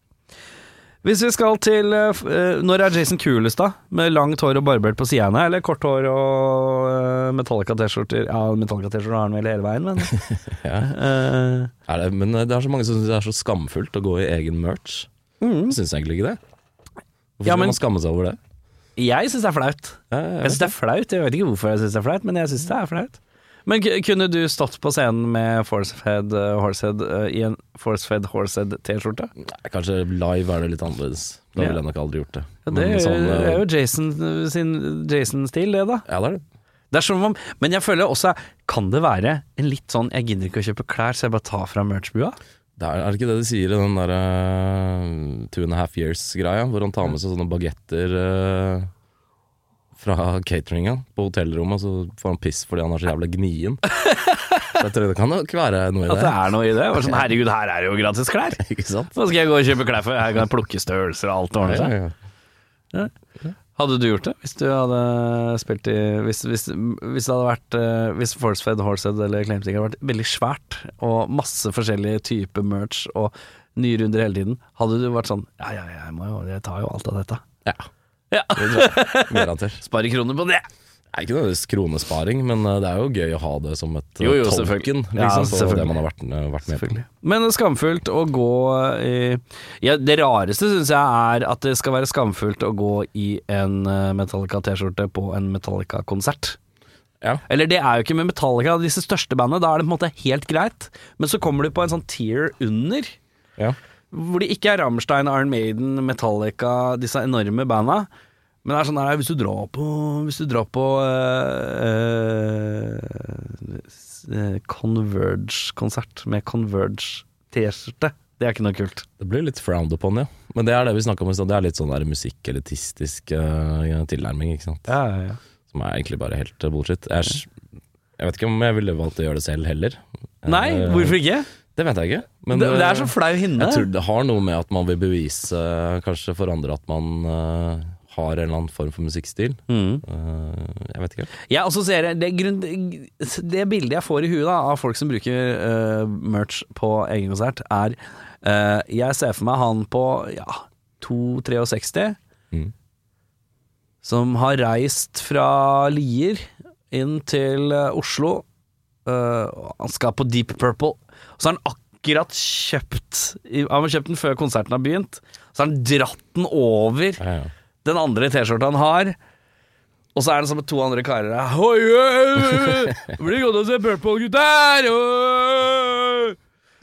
Hvis vi skal til eh, f- eh, Når er Jason kulest, da? Med langt hår og barbert på sidene, eller kort hår og eh, Metallica-T-skjorter? Ja, Metallica-T-skjorter har han vel hele veien, men Eh,
Er det, men det er så mange som syns det er så skamfullt å gå i egen merch. Jeg Syns egentlig ikke det. Hvorfor
Ja, men-
skal man skamme seg over det?
Jeg syns det er flaut.
Jeg, jeg,
Jeg syns det er flaut. Jeg vet ikke hvorfor jeg syns det er flaut, men jeg syns det er flaut. Men k- kunne du stått på scenen med Forcefed eh, Horsehead eh, i en Forcefed Horsehead-T-skorte?
Nei, Kanskje live er det litt annerledes. Da
Ja.
ville jeg nok aldri gjort det.
Ja, det
Men
er jo,
sånn,
det er
eh,
jo Jason eh, sin Jason-stil, det, da.
ja, det er det.
Det er som om, Men jeg føler også Kan det være en litt sånn Jeg gidder ikke å kjøpe klær, så jeg bare tar fra merch-bua?
Det er, er det ikke det de sier i den der eh, two and a half years-greia, hvor han tar med seg sånne bagetter eh, fra cateringa på hotellrommet, og så får han piss fordi han er så jævla gnien. Så jeg tror det kan nok være noe i
At det
det.
er noe i det? Bare sånn, Herregud, her er det jo gratis klær!
Ikke sant?
Hva skal jeg gå og kjøpe klær for? Her kan jeg plukke størrelser og alt ordner
Ja,
seg.
ja.
Hadde du gjort det hvis du hadde spilt i Hvis, hvis, hvis det hadde vært eh, Hvis Forcefed, Horsehead eller Claimsing hadde vært veldig svært, og masse forskjellige typer merch og nye runder hele tiden, hadde du vært sånn Ja, ja, ja, jeg, må jo, jeg tar jo alt av dette.
Ja.
Ja.
Det tror jeg. Garantert.
Sparer kroner på det!
Det er ikke nødvendigvis kronesparing, men eh, det er jo gøy å ha det som et eh,
Jo, jo,
tolken
selvfølgelig.
liksom,
Ja,
på det
selvfølgelig.
man har vært, eh, vært med på.
Selvfølgelig. Men skamfullt å gå i ja, Det rareste syns jeg er at det skal være skamfullt å gå i en eh, Metallica-T-skjorte på en Metallica-konsert.
Ja.
Eller det er jo ikke med Metallica, disse største bandene. Da er det på en måte helt greit. Men så kommer du på en sånn tier under,
Ja.
hvor det ikke er Rammstein, Iron Maiden, Metallica, disse enorme banda. Men det er sånn her, hvis du drar på Hvis du drar på eh, eh, s- eh, Converge-konsert med Converge-T-skjorte, det er ikke noe kult.
Det blir litt frowned upon, ja. Men det er det vi snakka om i stad. Det er litt sånn der musikkelitistisk eh, tilnærming, ikke sant.
Ja, ja, ja.
Som er egentlig bare helt eh, bullshit. Jeg, er s- jeg vet ikke om jeg ville valgt å gjøre det selv heller.
Nei,
Eh,
hvorfor ikke?
Det vet jeg ikke. Men
det, det
eh,
er så flau hinne.
jeg tror det har noe med at man vil bevise eh, kanskje for andre at man eh, har en eller annen form for musikkstil.
Mm.
Eh, jeg vet ikke.
Jeg assosierer det, grunn, det bildet jeg får i huet da, av folk som bruker eh, merch på egen konsert, er eh, Jeg ser for meg han på ja, 2-63
Mm.
som har reist fra Lier inn til eh, Oslo. eh, og han skal på Deep Purple. Og så har han akkurat kjøpt i- Han har kjøpt den før konserten har begynt. Så har han dratt den over
Ja, ja.
den andre T-skjorta han har. Og så er det sammen med to andre karer der. Oi, oi, oi, Blir det godt å se Purple, gutter! Oi!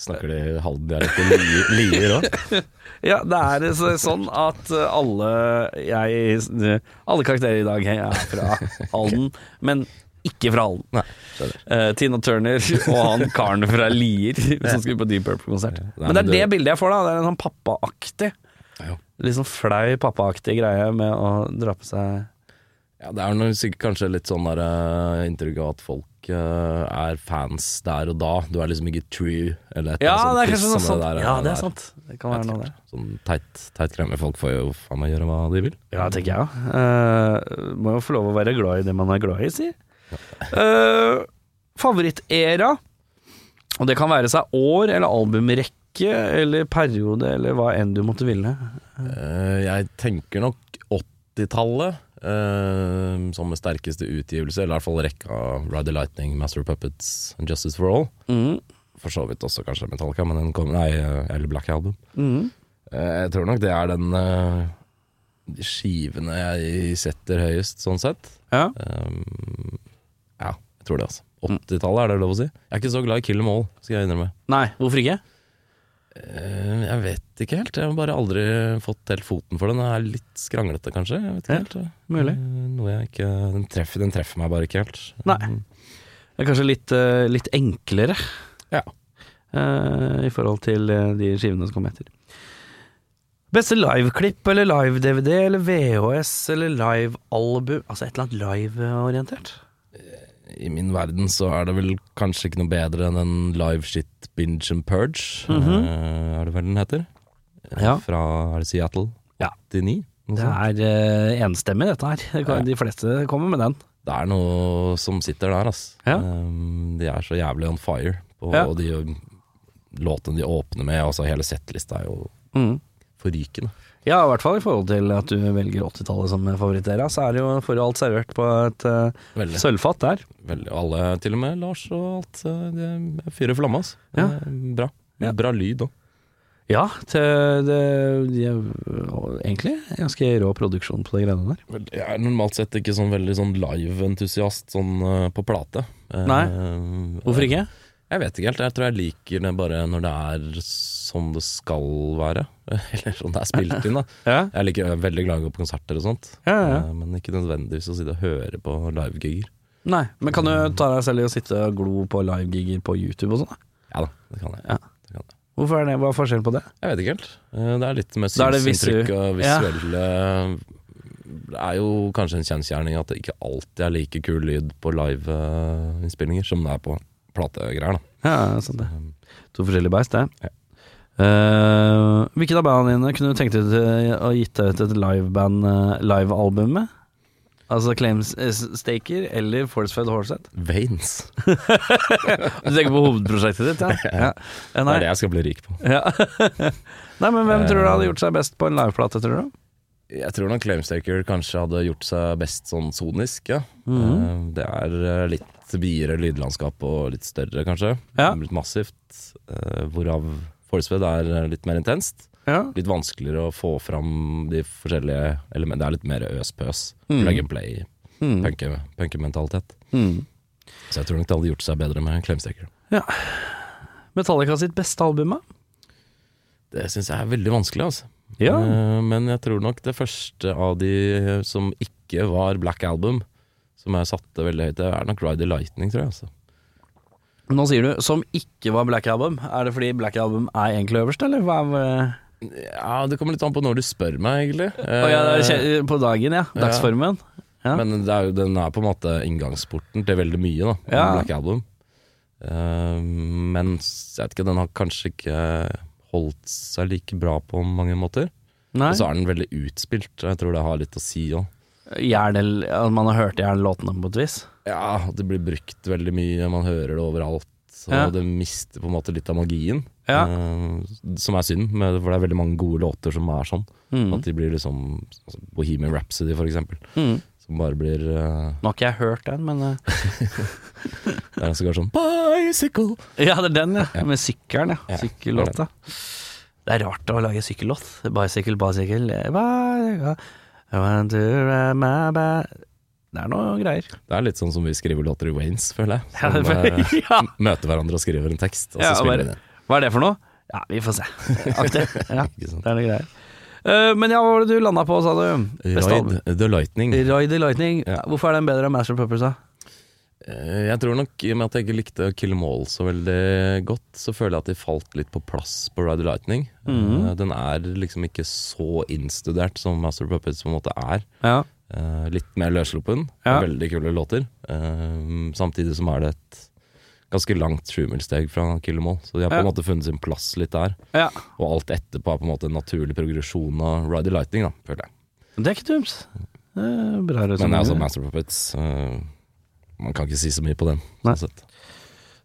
Snakker de halvdialekt i Lier- Lier òg?
Ja, det er så- sånn at eh, alle jeg eh, Alle karakterer i dag er fra Halden, men ikke fra Halden.
Nei, skjønner.
Eh, Tina Turner og han karen fra Lier som skulle på Deep Purple-konsert. Men det er det bildet jeg får, da. Det er en sånn pappaaktig.
Ja.
Litt sånn flau pappaaktig greie med å dra på seg
Ja, det er noe, sikkert kanskje litt sånn der eh, inntrykk av at folk eh, er fans der og da. Du er liksom ikke true, eller et
Ja, det Sånn er
eller annet
kanskje
sånt
noe
piss som
sånt.
der,
ja, det
der.
er sant. Det kan
Jeg
være noe
tror
der.
Sånn teit, teit greie. men Folk får jo faen meg gjøre hva de vil.
Ja, det tenker jeg òg. Eh, må jo få lov å være glad i det man er glad i, si. Eh, favorittera, og det kan være seg år eller albumrekke eller periode eller hva enn du måtte ville.
Eh, jeg tenker nok 80-tallet eh, som med sterkeste utgivelse, eller i hvert fall rekka av Ride the Lightning, Master of Puppets and Justice for All.
Mm,
For så vidt også kanskje Metallica, men den kom, nei, eh, eller Black Album.
mm.
Eh, jeg tror nok det er den eh, de skivene jeg setter høyest, sånn sett.
Ja.
Um, ja, jeg tror det, altså. 80-tallet, er det lov å si? Jeg er ikke så glad i Kill 'em All, skal jeg innrømme.
Nei, hvorfor ikke?
Eh, jeg vet ikke helt. Jeg har bare aldri fått helt foten for den. Den er litt skranglete, kanskje. Jeg vet ikke
Ja,
helt.
Mulig.
Eh, Noe jeg ikke den treffer, den treffer meg bare ikke helt.
Nei. Det er kanskje litt, eh, litt enklere
Ja.
eh, i forhold til eh, de skivene som kom etter. Beste liveklipp eller live-DVD eller VHS eller livealbum Altså et eller annet live-orientert.
I min verden så er det vel kanskje ikke noe bedre enn en live shit binge and purge.
Mhm.
eh, er det vel den heter? Eh,
Ja.
Fra er det Seattle
Ja.
89? noe
Det
sånt.
er eh, enstemmig, dette her. Det kan- De fleste kommer med den.
Det er noe som sitter der, ass.
Ja.
Um, de er så jævlig on fire på
Ja.
de låtene de åpner med. Altså hele settlista er jo
Mm.
forrykende.
Ja, i hvert fall i forhold til at du velger 80-tallet som favorittera, så er det jo for alt servert på et eh,
Veldig.
sølvfat der.
veldig. Alle, til og med Lars og alt. eh, Det er fyr i flamme, ass.
Ja.
Eh, Bra.
Ja.
Bra lyd òg.
Ja, til det, de er egentlig ganske rå produksjon på de greiene der.
Jeg er normalt sett ikke sånn veldig sånn live-entusiast sånn eh, på plate. Eh,
Nei.
eh,
Hvorfor ikke?
Jeg vet ikke helt. Jeg tror jeg liker det bare når det er som det skal være. Eller sånn det er spilt inn, da.
Ja,
Jeg liker jeg er veldig glad i å gå på konserter og sånt,
ja, ja.
Eh, men ikke nødvendigvis å sitte og høre på livegiger.
Nei, men kan du
Mm.
ta deg selv i å sitte og glo på livegiger på YouTube og sånn? da?
Ja da, det kan jeg.
Ja.
Det kan jeg.
Hvorfor er det, hva er forskjellen på det?
jeg vet ikke helt. Eh, Det er litt med
Da er det visu-
synsinntrykk og
Ja.
visuelle Det er jo kanskje en kjensgjerning at det ikke alltid er like kul lyd på eh, liveinnspillinger som altså, det er på plategreier, da.
sånn, Ja, sant det. To forskjellige beist, det. Eh, hvilket av bandene dine kunne du tenkt deg til å gitt deg ut et liveband, eh, livealbum med? Altså Claims eh, Staker eller Forcefed Horset?
Veins.
Du tenker på hovedprosjektet ditt, ja? ja.
Det
Nei.
er det jeg skal bli rik på.
Ja. Nei, men hvem
Eh.
tror du hadde gjort seg best på en liveplate, tror du?
Jeg tror nok Claimstaker kanskje hadde gjort seg best sånn sonisk, ja.
Mhm.
Eh, Det er eh, litt videre lydlandskap og litt større, kanskje.
Ja.
Litt massivt. eh, Hvorav Forcefed er eh, litt mer intenst.
Ja.
Litt vanskeligere å få fram de forskjellige elementene. Det er litt mer øs-pøs. Plug and play,
Mm.
punke- punkementalitet.
Mm.
Så jeg tror nok det hadde gjort seg bedre med Claimstaker.
Metallica sitt beste album, da?
Det syns jeg er veldig vanskelig, altså. Eh, Men jeg tror nok det første av de som ikke var Black Album, som jeg satte veldig høyt, det er nok Ride the Lightning, tror jeg. Altså.
Nå sier du 'som ikke var Black Album'. Er det fordi Black Album er egentlig øverst, eller? Hva er,
Ja, Det kommer litt an på når du spør meg, egentlig. Eh,
Å, ja, det er kje- på dagen, ja.
ja.
Dagsformen. ja.
Men det er, jo- den er på en måte inngangsporten til veldig mye, da.
Ja.
Black Album. Eh, men s- jeg vet ikke, den har kanskje ikke holdt seg like bra på mange måter.
Nei.
Og så er den veldig utspilt, og jeg tror det har litt å si òg.
Hjernel, at man har hørt gjerne låtene på et vis.
Ja, det blir brukt veldig mye, man hører det overalt. Og
Ja.
det mister på en måte litt av magien,
Ja.
eh, som er synd, men- for det er veldig mange gode låter som er sånn. At de blir liksom altså Bohemian Rhapsody, for eksempel.
Mm.
Som bare blir eh,
Nå har ikke jeg hørt den, men eh,
Det er sågar sånn Bicycle!
Ja, det er den, ja. Med sykkelen, ja.
Ja,
Sykkellåta. Det er rart å lage sykkellåt. Bicycle, bicycle eh, bicycle, I want to ride my bike. Det er noe greier.
Det er litt sånn som vi skriver låter i Waynes, føler jeg.
Ja,
Som eh,
ja.
møter hverandre og skriver en tekst, og så
Ja, og
spiller
bare-
vi den.
Hva er det for noe? Ja, vi får se. Aktig. Ja,
Ikke sant?
det er noe greier. Eh, men ja, hva var det du landa på, sa du? Beste album.
Ride the Lightning.
Roy the Lightning.
Ja.
Hvorfor er den bedre enn Master of Puppers, da?
Eh, Jeg tror nok, i og med at jeg ikke likte Kill 'Em All så veldig godt, så føler jeg at de falt litt på plass på Ride the Lightning.
Mhm.
Eh, Den er liksom ikke så innstudert som Master of Puppets på en måte er.
Ja.
Eh, Litt mer løssluppen.
Ja.
Veldig kule låter. Eh, Samtidig som er det et ganske langt Trumel-steg fra Kill 'Em All så de har på en
Ja.
måte funnet sin plass litt der.
ja.
Og alt etterpå er på en måte en naturlig progresjon av Ride the Lightning, da, føler jeg.
Det er ikke dumt. Det er Bra
Men det er altså
resonnement.
Master of Puppets eh, Man kan ikke si så mye på den.
Nei.
Sånn sett.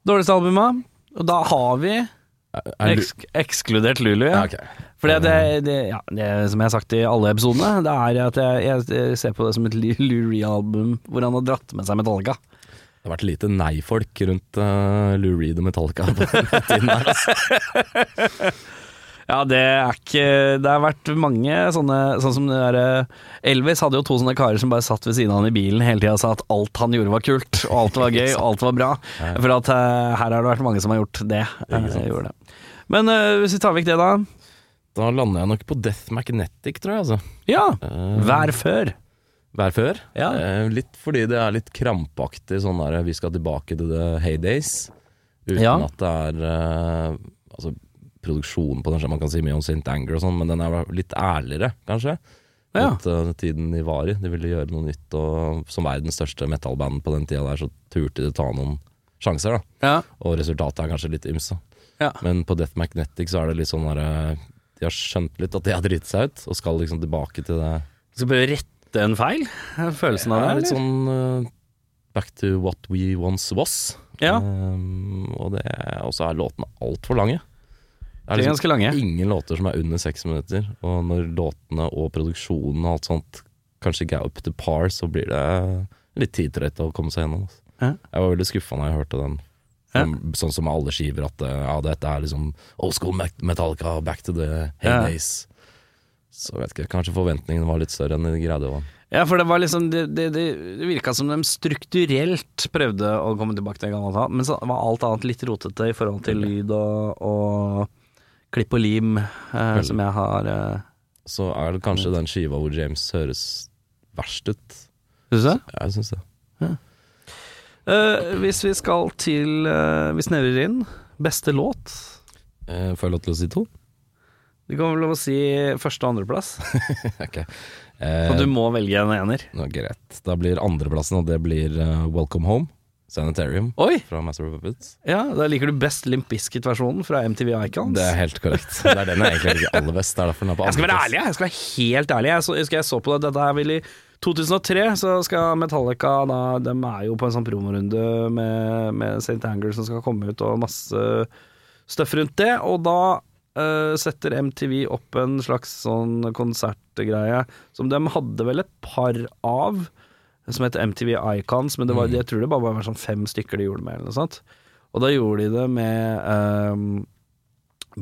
Dårligste albumet, og da har vi
Er- er du-
eks ekskludert Lulu.
Ja,
Ja.
ok.
Fordi at det, det, ja, det er som jeg har sagt i alle episodene, det er at jeg, jeg, jeg ser på det som et Lou Reed-album hvor han har dratt med seg Metallica.
Det har vært lite nei-folk rundt eh, Lou Reed og Metallica. på den tiden her, altså.
Ja, det er ikke Det har vært mange sånne Sånn som det derre Elvis hadde jo to sånne karer som bare satt ved siden av han i bilen hele tida og sa at alt han gjorde var kult, og alt var gøy, og alt var bra. For at eh, her har det vært mange som har gjort det. Eh, gjorde det. Men eh, hvis vi tar vekk det, da.
Da lander jeg nok på Death Magnetic, tror jeg. altså.
Ja!
Eh,
Vær før.
Vær før.
Ja.
Eh, litt fordi det er litt krampaktig sånn der vi skal tilbake til the heydays. Uten
Ja.
at det er eh, altså, produksjonen på den, man kan si mye om St. Anger og sånn, men den er litt ærligere, kanskje.
Ja.
Mot eh, tiden de var i. De ville gjøre noe nytt, og som verdens største metal-band på den tida der, så turte de å ta noen sjanser, da.
Ja.
Og resultatet er kanskje litt ymse.
Ja.
Men på Death Magnetic så er det litt sånn der eh, De har skjønt litt at de har driti seg ut, og skal liksom tilbake til det.
Skal prøve å rette en feil? Er Følelsen
Det
av det?
er litt
eller?
sånn eh, back to what we once was.
Ja.
Um, og det og så er låtene altfor lange.
De
Det
er
er liksom
ganske lange.
ingen låter som er under seks minutter. Og når låtene og produksjonen og alt sånt kanskje ikke er up to par, så blir det litt tid til dette å komme seg gjennom. Altså.
Ja.
Jeg var veldig skuffa da jeg hørte den.
Ja.
Som- Sånn som alle skiver at eh, ja, dette er liksom old school Mac- Metallica, back to the
Ja.
heydays. Så jeg vet ikke, kanskje forventningene var litt større enn de greide å
Ja, for det var liksom Det, det, det virka som de strukturelt prøvde å komme tilbake til gammelt alt, men så var alt annet litt rotete i forhold til lyd og, og klipp og lim, eh, som jeg har eh.
så er det kanskje den skiva hvor James høres verst ut.
Syns du det?
Jeg syns det.
Eh, hvis vi skal til eh, Vi snevrer inn. Beste låt?
Eh, Får jeg lov til å si to?
Du kan vel lov å si første- og andreplass?
ok. Eh,
Og du må velge en ener.
nå, greit. Da blir andreplassen, og det blir eh, Welcome Home. Sanitarium
Oi!
fra Master of Puppets.
Ja, da liker du best Limp Bizkit-versjonen fra MTV Icons.
Det er helt korrekt. Det er den jeg egentlig liker aller best. Det er derfor den er på
Jeg skal være
andreplass.
ærlig, jeg. jeg skal være helt ærlig. Jeg, så, jeg husker jeg så på det, dette her vel i 2003, så skal Metallica da, De er jo på en sånn promorunde med, med St. Anger som skal komme ut, og masse støff rundt det. Og da eh, setter MTV opp en slags sånn konsertgreie som de hadde vel et par av, som het MTV Icons, men det var, jeg tror det bare var sånn fem stykker de gjorde med, eller noe sånt. Og da gjorde de det med eh,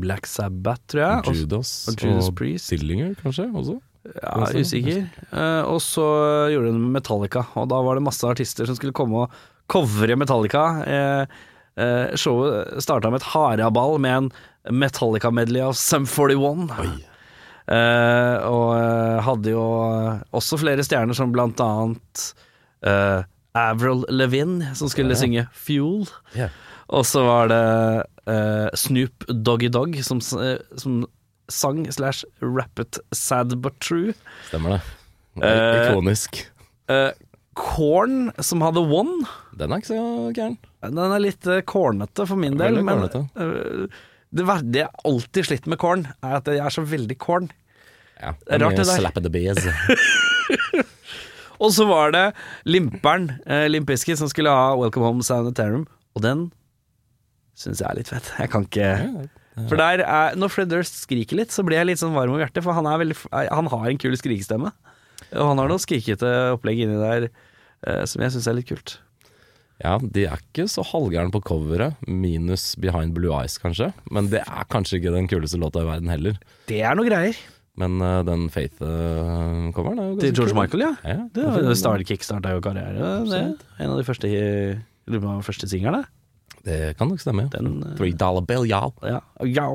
Black Sabbath, tror jeg. og-
Judas
og Judas Priest.
Dillinger, kanskje, også.
ja,
Også,
usikker. Eh, og så gjorde hun Metallica, og da var det masse artister som skulle komme og covre Metallica. Eh, eh, showet starta med et haraball med en Metallica-medley av Sum 41. Eh, og eh, hadde jo også flere stjerner, som blant annet eh, Avril Levine, som skulle synge Fuel.
Ja.
Og så var det eh, Snoop Doggy Dogg som, s- eh, som sang slash rappet Sad But True.
Stemmer det.
Eh,
Ikonisk.
Eh, Korn, som hadde One.
Den er ikke så gæren.
Den er litt eh, kornete for min del,
Veldig
men
kornete.
eh, det, ver- det jeg alltid sliter med korn, er at jeg er så veldig korn.
Ja.
er rart det der.
Slap of the bees.
Og så var det Limperen, uh, Limpiski, som skulle ha Welcome Home Sanitarium, og den syns jeg er litt fett. Jeg kan ikke For der er, når Fred Durst skriker litt, så blir jeg litt sånn varm om hjertet, for han, er veldig, f- han har en kul skrikestemme. Og han har noe skrikete opplegg inni der eh, som jeg syns er litt kult.
Ja, de er ikke så halvgærne på coveret, minus Behind Blue Eyes, kanskje. Men det er kanskje ikke den kuleste låta i verden heller.
Det er noe greier.
Men eh, den Faith-coveren er jo ganske
Til George
kul.
Michael, ja.
Ja,
Det var jo start, kickstarta jo karriere. Det. En av de første, lurer på om det var første singerne.
Det kan nok stemme, ja.
Den, eh,
Three dollar bill, y'all.
Ja. ja.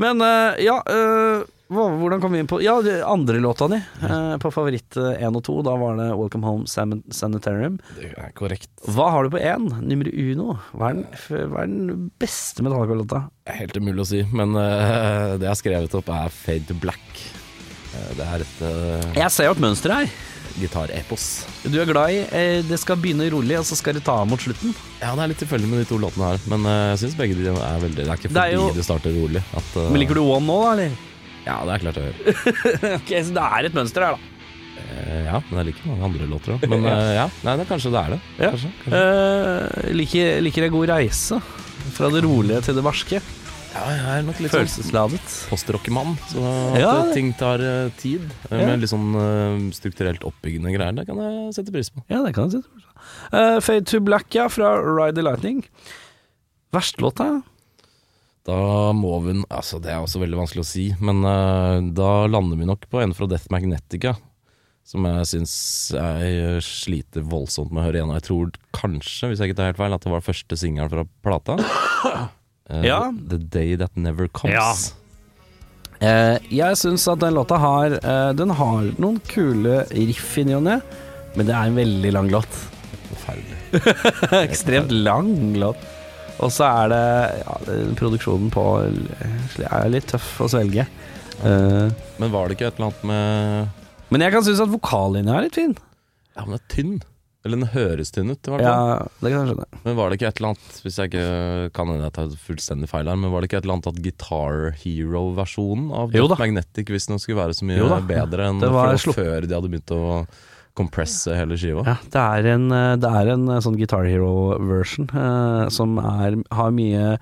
Men eh, ja eh, hva, Hvordan kom vi inn på Ja, det- andre låta di. eh, på favoritt eh, én og to. Da var det Welcome Home Sam Sanitarium.
Det er korrekt.
Hva har du på én? Nummer uno. Hva er den, f- hva er den beste Metallica-låta?
Det er Helt umulig å si, men eh, det jeg har skrevet opp er Fade to Black. Eh, det er et eh,
Jeg ser jo et mønster her.
gitarepos.
Du er glad i eh, det skal begynne rolig, og så skal det ta av mot slutten.
Ja, det er litt tilfeldig med de to låtene her, men eh, jeg syns begge de er veldig Det er
Det
ikke fordi
er
det,
jo-
starter rolig. At, eh,
Men liker du One nå, da? Eller?
Ja, det er klart jeg gjør.
Ok, Så det er et mønster her, da.
Eh, ja, men jeg liker mange andre låter òg. Men eh, ja, nei, det, kanskje det er det.
Ja.
Kanskje, kanskje.
Eh, liker, liker jeg god reise? Fra det rolige til det barske.
Ja, jeg er nok litt sånn
Følelsesladet.
postrockemann, så at
Ja, det-
ting tar eh, tid. eh,
Ja.
Med litt sånn eh, strukturelt oppbyggende greier. Det kan jeg sette pris på.
Ja, det kan jeg si. Eh, Fade to Black, ja, fra Ride the Lightning. Verstlåta?
Da må vi n- Altså, det er også veldig vanskelig å si, men eh, da lander vi nok på en fra Death Magnetica. Som jeg syns jeg eh, sliter voldsomt med å høre igjen. Og jeg tror kanskje, hvis jeg ikke tar helt feil, at det var første singelen fra plata. Eh,
Ja.
The Day That Never Comes.
Ja. Eh, jeg syns at den låta har eh, Den har noen kule riff inni og ned, men det er en veldig lang låt.
Forferdelig.
Ekstremt lang låt. Og så er det ja, det- Produksjonen på er litt tøff å svelge. Eh,
Men var det ikke et eller annet med
men jeg kan synes at vokallinja er litt fin.
Ja, men den er tynn. Eller den høres tynn ut, i hvert fall.
Ja, det kan jeg skjønne.
Men var det ikke et eller annet Hvis jeg ikke kan hende jeg tar fullstendig feil her, men var det ikke et eller annet at Guitar Hero-versjonen av
Jo da.
Death Magnetic visstnok skulle være så
Jo da.
mye bedre enn
Det var
for-
slupp-
før de hadde begynt å compresse hele skiva?
Ja, det er en, eh, det er en eh, sånn Guitar Hero-version eh, som er, har mye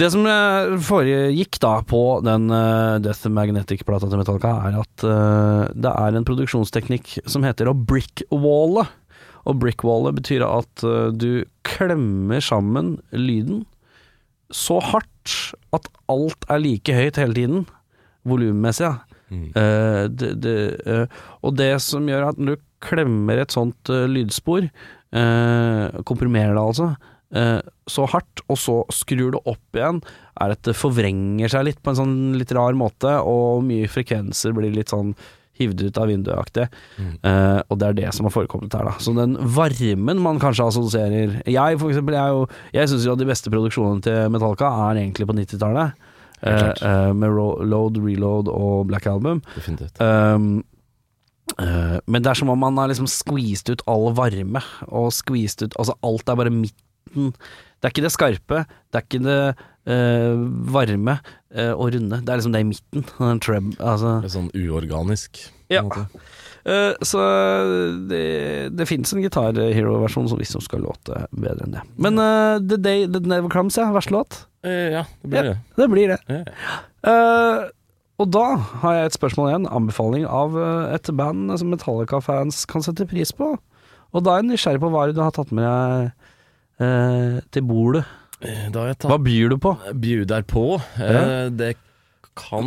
Det som eh, foregikk da på den eh, Death Magnetic-plata til Metallica, er at eh, det er en produksjonsteknikk som heter å brickwalle. Og brickwalle betyr at eh, du klemmer sammen lyden så hardt at alt er like høyt hele tiden, volummessig. Ja.
Mm.
Eh, det, det, eh, og det som gjør at når du klemmer et sånt eh, lydspor, eh, komprimerer det altså, eh, så hardt, og så skrur det opp igjen, er at det forvrenger seg litt på en sånn litt rar måte, og mye frekvenser blir litt sånn hivd ut av vinduet-aktig.
Mm.
Eh, og det er det som har forekommet her, da. Så den varmen man kanskje assosierer Jeg for eksempel, jeg, er jo- jeg syns jo at de beste produksjonene til Metallica er egentlig på 90-tallet.
Helt klart.
eh, eh, med Ro- Load, Reload og Black Album.
Definitivt.
Um, Eh, Men det er som om man har liksom skvist ut all varme, og skvist ut Altså, alt er bare midten. Det er ikke det skarpe, det er ikke det eh, varme eh, og runde. Det er liksom det i midten. Den treb, altså.
Litt sånn uorganisk. på
Ja.
en måte.
Eh, så det, det fins en Guitar Hero-versjon som visstnok skal låte bedre enn det. Men eh, The Day That Never Comes, ja. Verste låt.
Eh, ja, det blir det.
Det blir det.
Ja.
Eh, og da har jeg et spørsmål igjen. Anbefaling av eh, et band som Metallica-fans kan sette pris på. Og da er jeg nysgjerrig på hva du har tatt med deg eh, til bordet.
Eh, Da har jeg tatt
Hva byr du på?
bjuder på. Eh, Det kan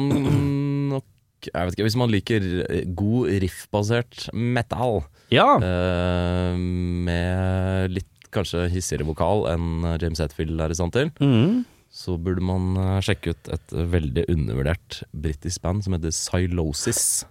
nok Jeg vet ikke, Hvis man liker god riffbasert metal
Ja,
eh, med litt kanskje hissigere vokal enn James Hetfield er i stand til,
mm.
så burde man eh, sjekke ut et veldig undervurdert britisk band som heter Psylosis.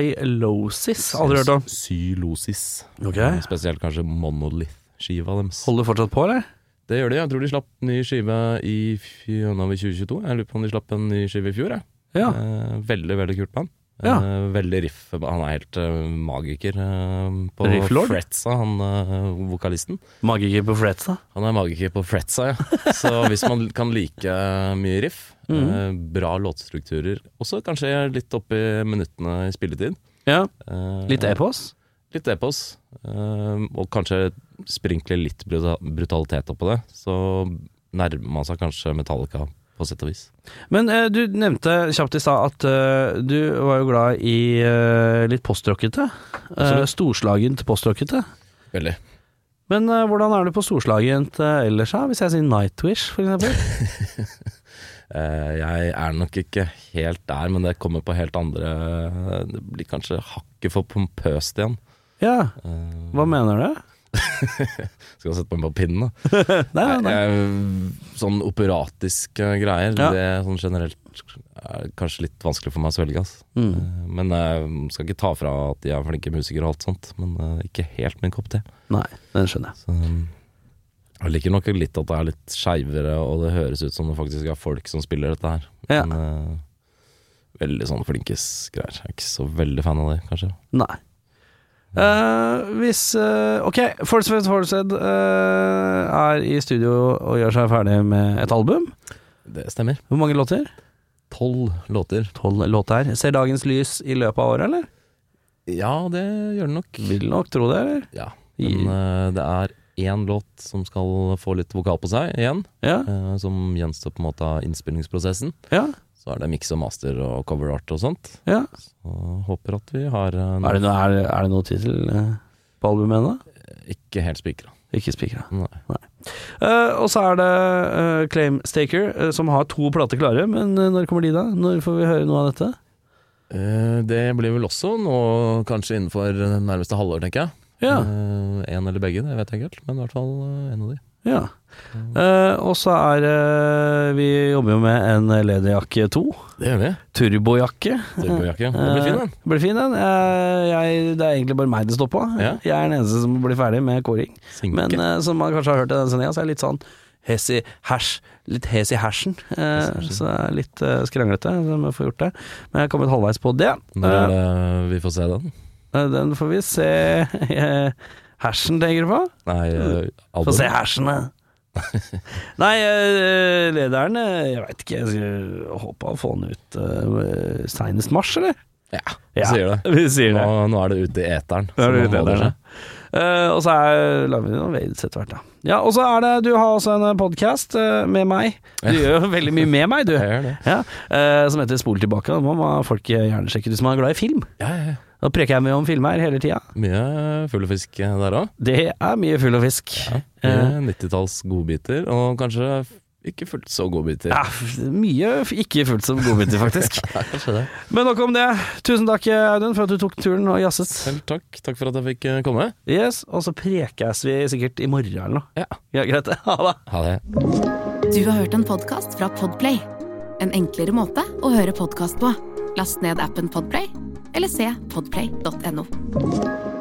Psylosis, aldri hørt om.
Psylosis.
Ok.
Eh, Spesielt kanskje Monolith-skiva deres.
Holder du fortsatt på, eller?
Det gjør de. Jeg tror de slapp ny skive i fjor, nå er vi 2022. Jeg lurer på om de slapp en ny skive i fjor. Jeg.
Ja.
Eh, veldig, veldig kult band.
Ja.
Eh, veldig riff. Han er helt eh, magiker eh, på
Rifflord?
Fretsa, han eh, vokalisten.
Magiker på frets, da.
Han er magiker på Fretsa, ja. Så hvis man kan like mye riff,
Mm.
eh, bra låtstrukturer, også kanskje litt oppi minuttene i spilletid.
Ja.
Eh,
Litt e epos?
litt epos, eh, og kanskje sprinkle litt bruta- brutalitet oppå det, så nærmer man seg kanskje Metallica på sett og vis.
Men eh, du nevnte kjapt i stad at eh, du var jo glad i eh, litt postrockete. Eh,
Absolutt.
storslagent postrockete.
Veldig.
Men eh, hvordan er du på storslagent eh, ellers, da? Hvis jeg sier Nightwish, for eksempel?
Eh, jeg er nok ikke helt der, men det kommer på helt andre eh, Det blir kanskje hakket for pompøst igjen.
ja,
Eh,
hva mener du?
skal sette meg på pinnen, da.
Nei,
Nei,
nei.
jeg- sånn operatiske greier,
Ja.
det sånn generelt er kanskje litt vanskelig for meg å svelge. Ass.
Mm.
Eh, Men jeg skal ikke ta fra at de er flinke musikere og alt sånt, men eh, ikke helt min kopp te.
nei, den skjønner jeg.
Så um, jeg liker nok litt at det er litt skeivere, og det høres ut som det faktisk er folk som spiller dette her.
Ja.
Men eh, veldig sånn flinkis-greier. Jeg er ikke så veldig fan av det, kanskje.
Nei. Eh, hvis eh, Ok, Force Fest Forced eh, er i studio og gjør seg ferdig med et album.
Det stemmer.
Hvor mange låter?
Tolv låter.
Tolv låter. Ser dagens lys i løpet av året, eller?
Ja, det gjør det nok.
Vil nok tro det, eller?
Ja. Men eh, det er én låt som skal få litt vokal på seg igjen,
Ja,
eh, som gjenstår på en måte av innspillingsprosessen.
ja,
Så er det miks og master og cover art og sånt.
ja.
Og håper at vi har eh,
Er det, noe- er, det- er det noe tittel eh, på albumet ennå?
Ikke helt spikra.
Ikke spikra.
Nei.
Eh, og så er det eh, Claim Staker, eh, som har to plater klare. Men eh, når kommer de, da? Når får vi høre noe av dette?
Eh, Det blir vel også nå kanskje innenfor det nærmeste halvår, tenker jeg.
Ja,
Eh, En eller begge, det vet jeg ikke helt, men i hvert fall eh, en av de.
ja. Eh, og så er det Vi jobber jo med en lederjakke 2.
Det gjør vi.
Turbojakke.
Turbojakke. Det blir fin, den.
Eh, blir fin, den. Eh, jeg, det er egentlig bare meg det står på.
Ja.
Jeg er den eneste som blir ferdig med kåring.
Sinke.
Men eh, som man kanskje har hørt i denne sendinga, så er jeg litt sånn hes i hæsj. Litt hes i hersen. Eh, så jeg er litt eh, skranglete, så må jeg få gjort det. Men jeg har kommet halvveis på det.
Når er det vi får se den?
Eh, den får vi se. Eh, Hersen, tenker du på?
Nei, eh,
Få se
albumet.
hersen, da. Nei, eh, lederen eh, Jeg veit ikke. Jeg skal- håper å få den ut eh, seinest mars, eller?
Ja, vi sier det.
Vi sier
Nå,
det.
nå er det ute i eteren.
Da
så
er det
nå holder
utlederne.
seg.
Eh, og så er, lager vi noen vades etter hvert, da. Ja, og så er det Du har også en podkast med meg. Du gjør jo veldig mye med meg, du.
Jeg gjør det.
Ja, eh, som heter Spol tilbake. Da må man- folk gjerne sjekke ut hvis man er glad i film.
Ja, ja, ja.
Da preker jeg mye om filmer hele tida.
Mye full og fisk der òg.
Det er mye full og fisk. Eh,
90-talls godbiter, og kanskje ikke fullt så godbiter.
ja, f- mye f- ikke fullt som godbiter, faktisk.
kanskje det.
Men nok om det. Tusen takk, eh, Audun, for at du tok turen og jazzet.
Vel, takk. Takk for at jeg fikk eh, komme.
Yes, og så prekes vi sikkert i morgen eller noe.
Ja.
Ja, greit. det. Ha det.
Ha det.
Du har hørt en podkast fra Podplay. En enklere måte å høre podkast på. Last ned appen Podplay, eller se podplay.no.